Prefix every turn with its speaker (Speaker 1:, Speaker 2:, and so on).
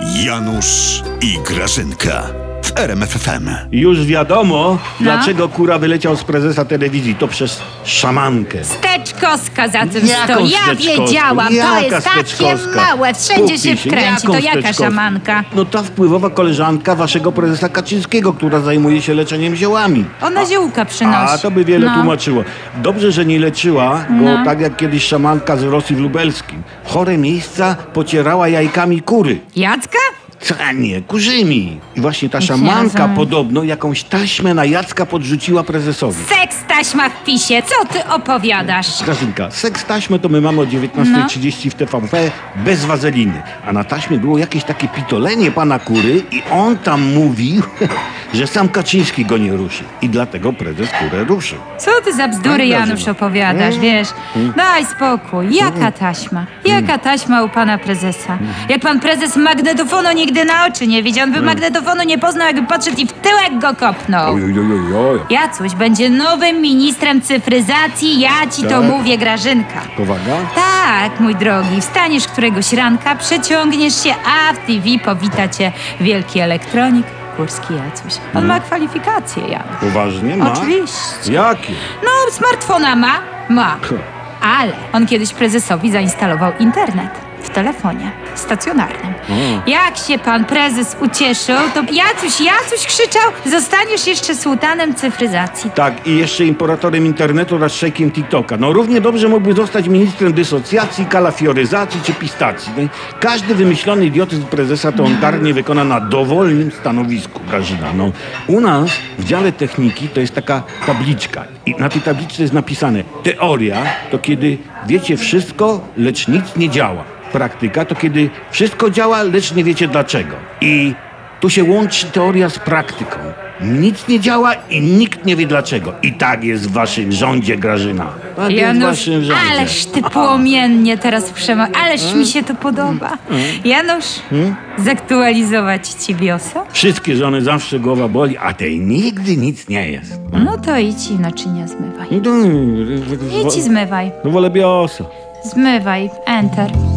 Speaker 1: Janusz i Grażynka w RMFFM.
Speaker 2: Już wiadomo,
Speaker 3: No.
Speaker 2: dlaczego kura wyleciał z prezesa telewizji. To przez szamankę.
Speaker 3: Steczkoska za tym
Speaker 2: Jaką
Speaker 3: stoi. Ja
Speaker 2: steczkowską?
Speaker 3: wiedziałam, to
Speaker 2: Jaka
Speaker 3: jest takie
Speaker 2: steczkowska?
Speaker 3: małe, wszędzie
Speaker 2: Kupi
Speaker 3: się wkręci.
Speaker 2: Jaką
Speaker 3: To jaka
Speaker 2: steczkowską?
Speaker 3: szamanka?
Speaker 2: No ta wpływowa koleżanka waszego prezesa Kaczyńskiego, która zajmuje się leczeniem ziołami.
Speaker 3: Ona ziółka przynosi.
Speaker 2: A to by wiele
Speaker 3: No.
Speaker 2: tłumaczyło. Dobrze, że nie leczyła, bo
Speaker 3: No.
Speaker 2: tak jak kiedyś szamanka z Rosji w Lubelskim. Chore miejsca pocierała jajkami kury.
Speaker 3: Jacka?
Speaker 2: Canie, kurzymi. I właśnie ta
Speaker 3: Nic nie
Speaker 2: szamanka
Speaker 3: rozumiem.
Speaker 2: podobno jakąś taśmę na Jacka podrzuciła prezesowi.
Speaker 3: Seks taśma w pisie, co ty opowiadasz?
Speaker 2: Grażynka, seks taśmy to my mamy o 19.30 w TVP bez wazeliny. A na taśmie było jakieś takie pitolenie pana kury i on tam mówi, że sam Kaczyński go nie ruszy. I dlatego prezes kurę ruszył.
Speaker 3: Co ty za bzdury,
Speaker 2: Pani
Speaker 3: Janusz,
Speaker 2: Grażyna. E?
Speaker 3: opowiadasz, wiesz?
Speaker 2: Mm.
Speaker 3: Daj spokój. Jaka taśma? Jaka taśma u pana prezesa? Jak pan prezes magnetofonu nigdy na oczy nie widział, on
Speaker 2: Mm.
Speaker 3: by magnetofonu nie poznał, jakby podszedł i w tyłek go kopnął.
Speaker 2: Ojojojojoj.
Speaker 3: Jacuś będzie nowym ministrem cyfryzacji, ja ci to
Speaker 2: Tak.
Speaker 3: mówię, Grażynka.
Speaker 2: Powaga?
Speaker 3: Tak, mój drogi, wstaniesz któregoś ranka, przeciągniesz się, a w TV powita cię wielki elektronik, Górski Jacuś. On ma kwalifikacje, Janusz.
Speaker 2: Poważnie No. ma?
Speaker 3: Oczywiście.
Speaker 2: Jakie?
Speaker 3: No, smartfona ma? Ma.
Speaker 2: Huh.
Speaker 3: Ale on kiedyś prezesowi zainstalował internet w telefonie stacjonarnym. Jak się pan prezes ucieszył, to Jacuś, Jacuś krzyczał, zostaniesz jeszcze sułtanem cyfryzacji.
Speaker 2: Tak, i jeszcze imperatorem internetu oraz szejkiem TikToka. No równie dobrze mógłby zostać ministrem dysocjacji, kalafioryzacji czy pistacji. No, i każdy wymyślony idiotyzm prezesa to on karnie wykona na dowolnym stanowisku, Grażyna. No, u nas w dziale techniki to jest taka tabliczka. I na tej tabliczce jest napisane teoria to kiedy wiecie wszystko, lecz nic nie działa. Praktyka to kiedy wszystko działa, lecz nie wiecie dlaczego. I tu się łączy teoria z praktyką. Nic nie działa i nikt nie wie dlaczego. I tak jest w waszym rządzie, Grażyna. Tak jest w
Speaker 3: Janusz,
Speaker 2: waszym rządzie.
Speaker 3: ależ ty płomiennie teraz przemawia, ależ mi się to podoba.
Speaker 2: Mm,
Speaker 3: Janusz,
Speaker 2: Hmm?
Speaker 3: zaktualizować ci wiosa?
Speaker 2: Wszystkie żony zawsze głowa boli, a tej nigdy nic nie jest.
Speaker 3: No to idź i naczynia
Speaker 2: Hmm?
Speaker 3: zmywaj. Idź i zmywaj,
Speaker 2: No wolę biosa.
Speaker 3: zmywaj, enter.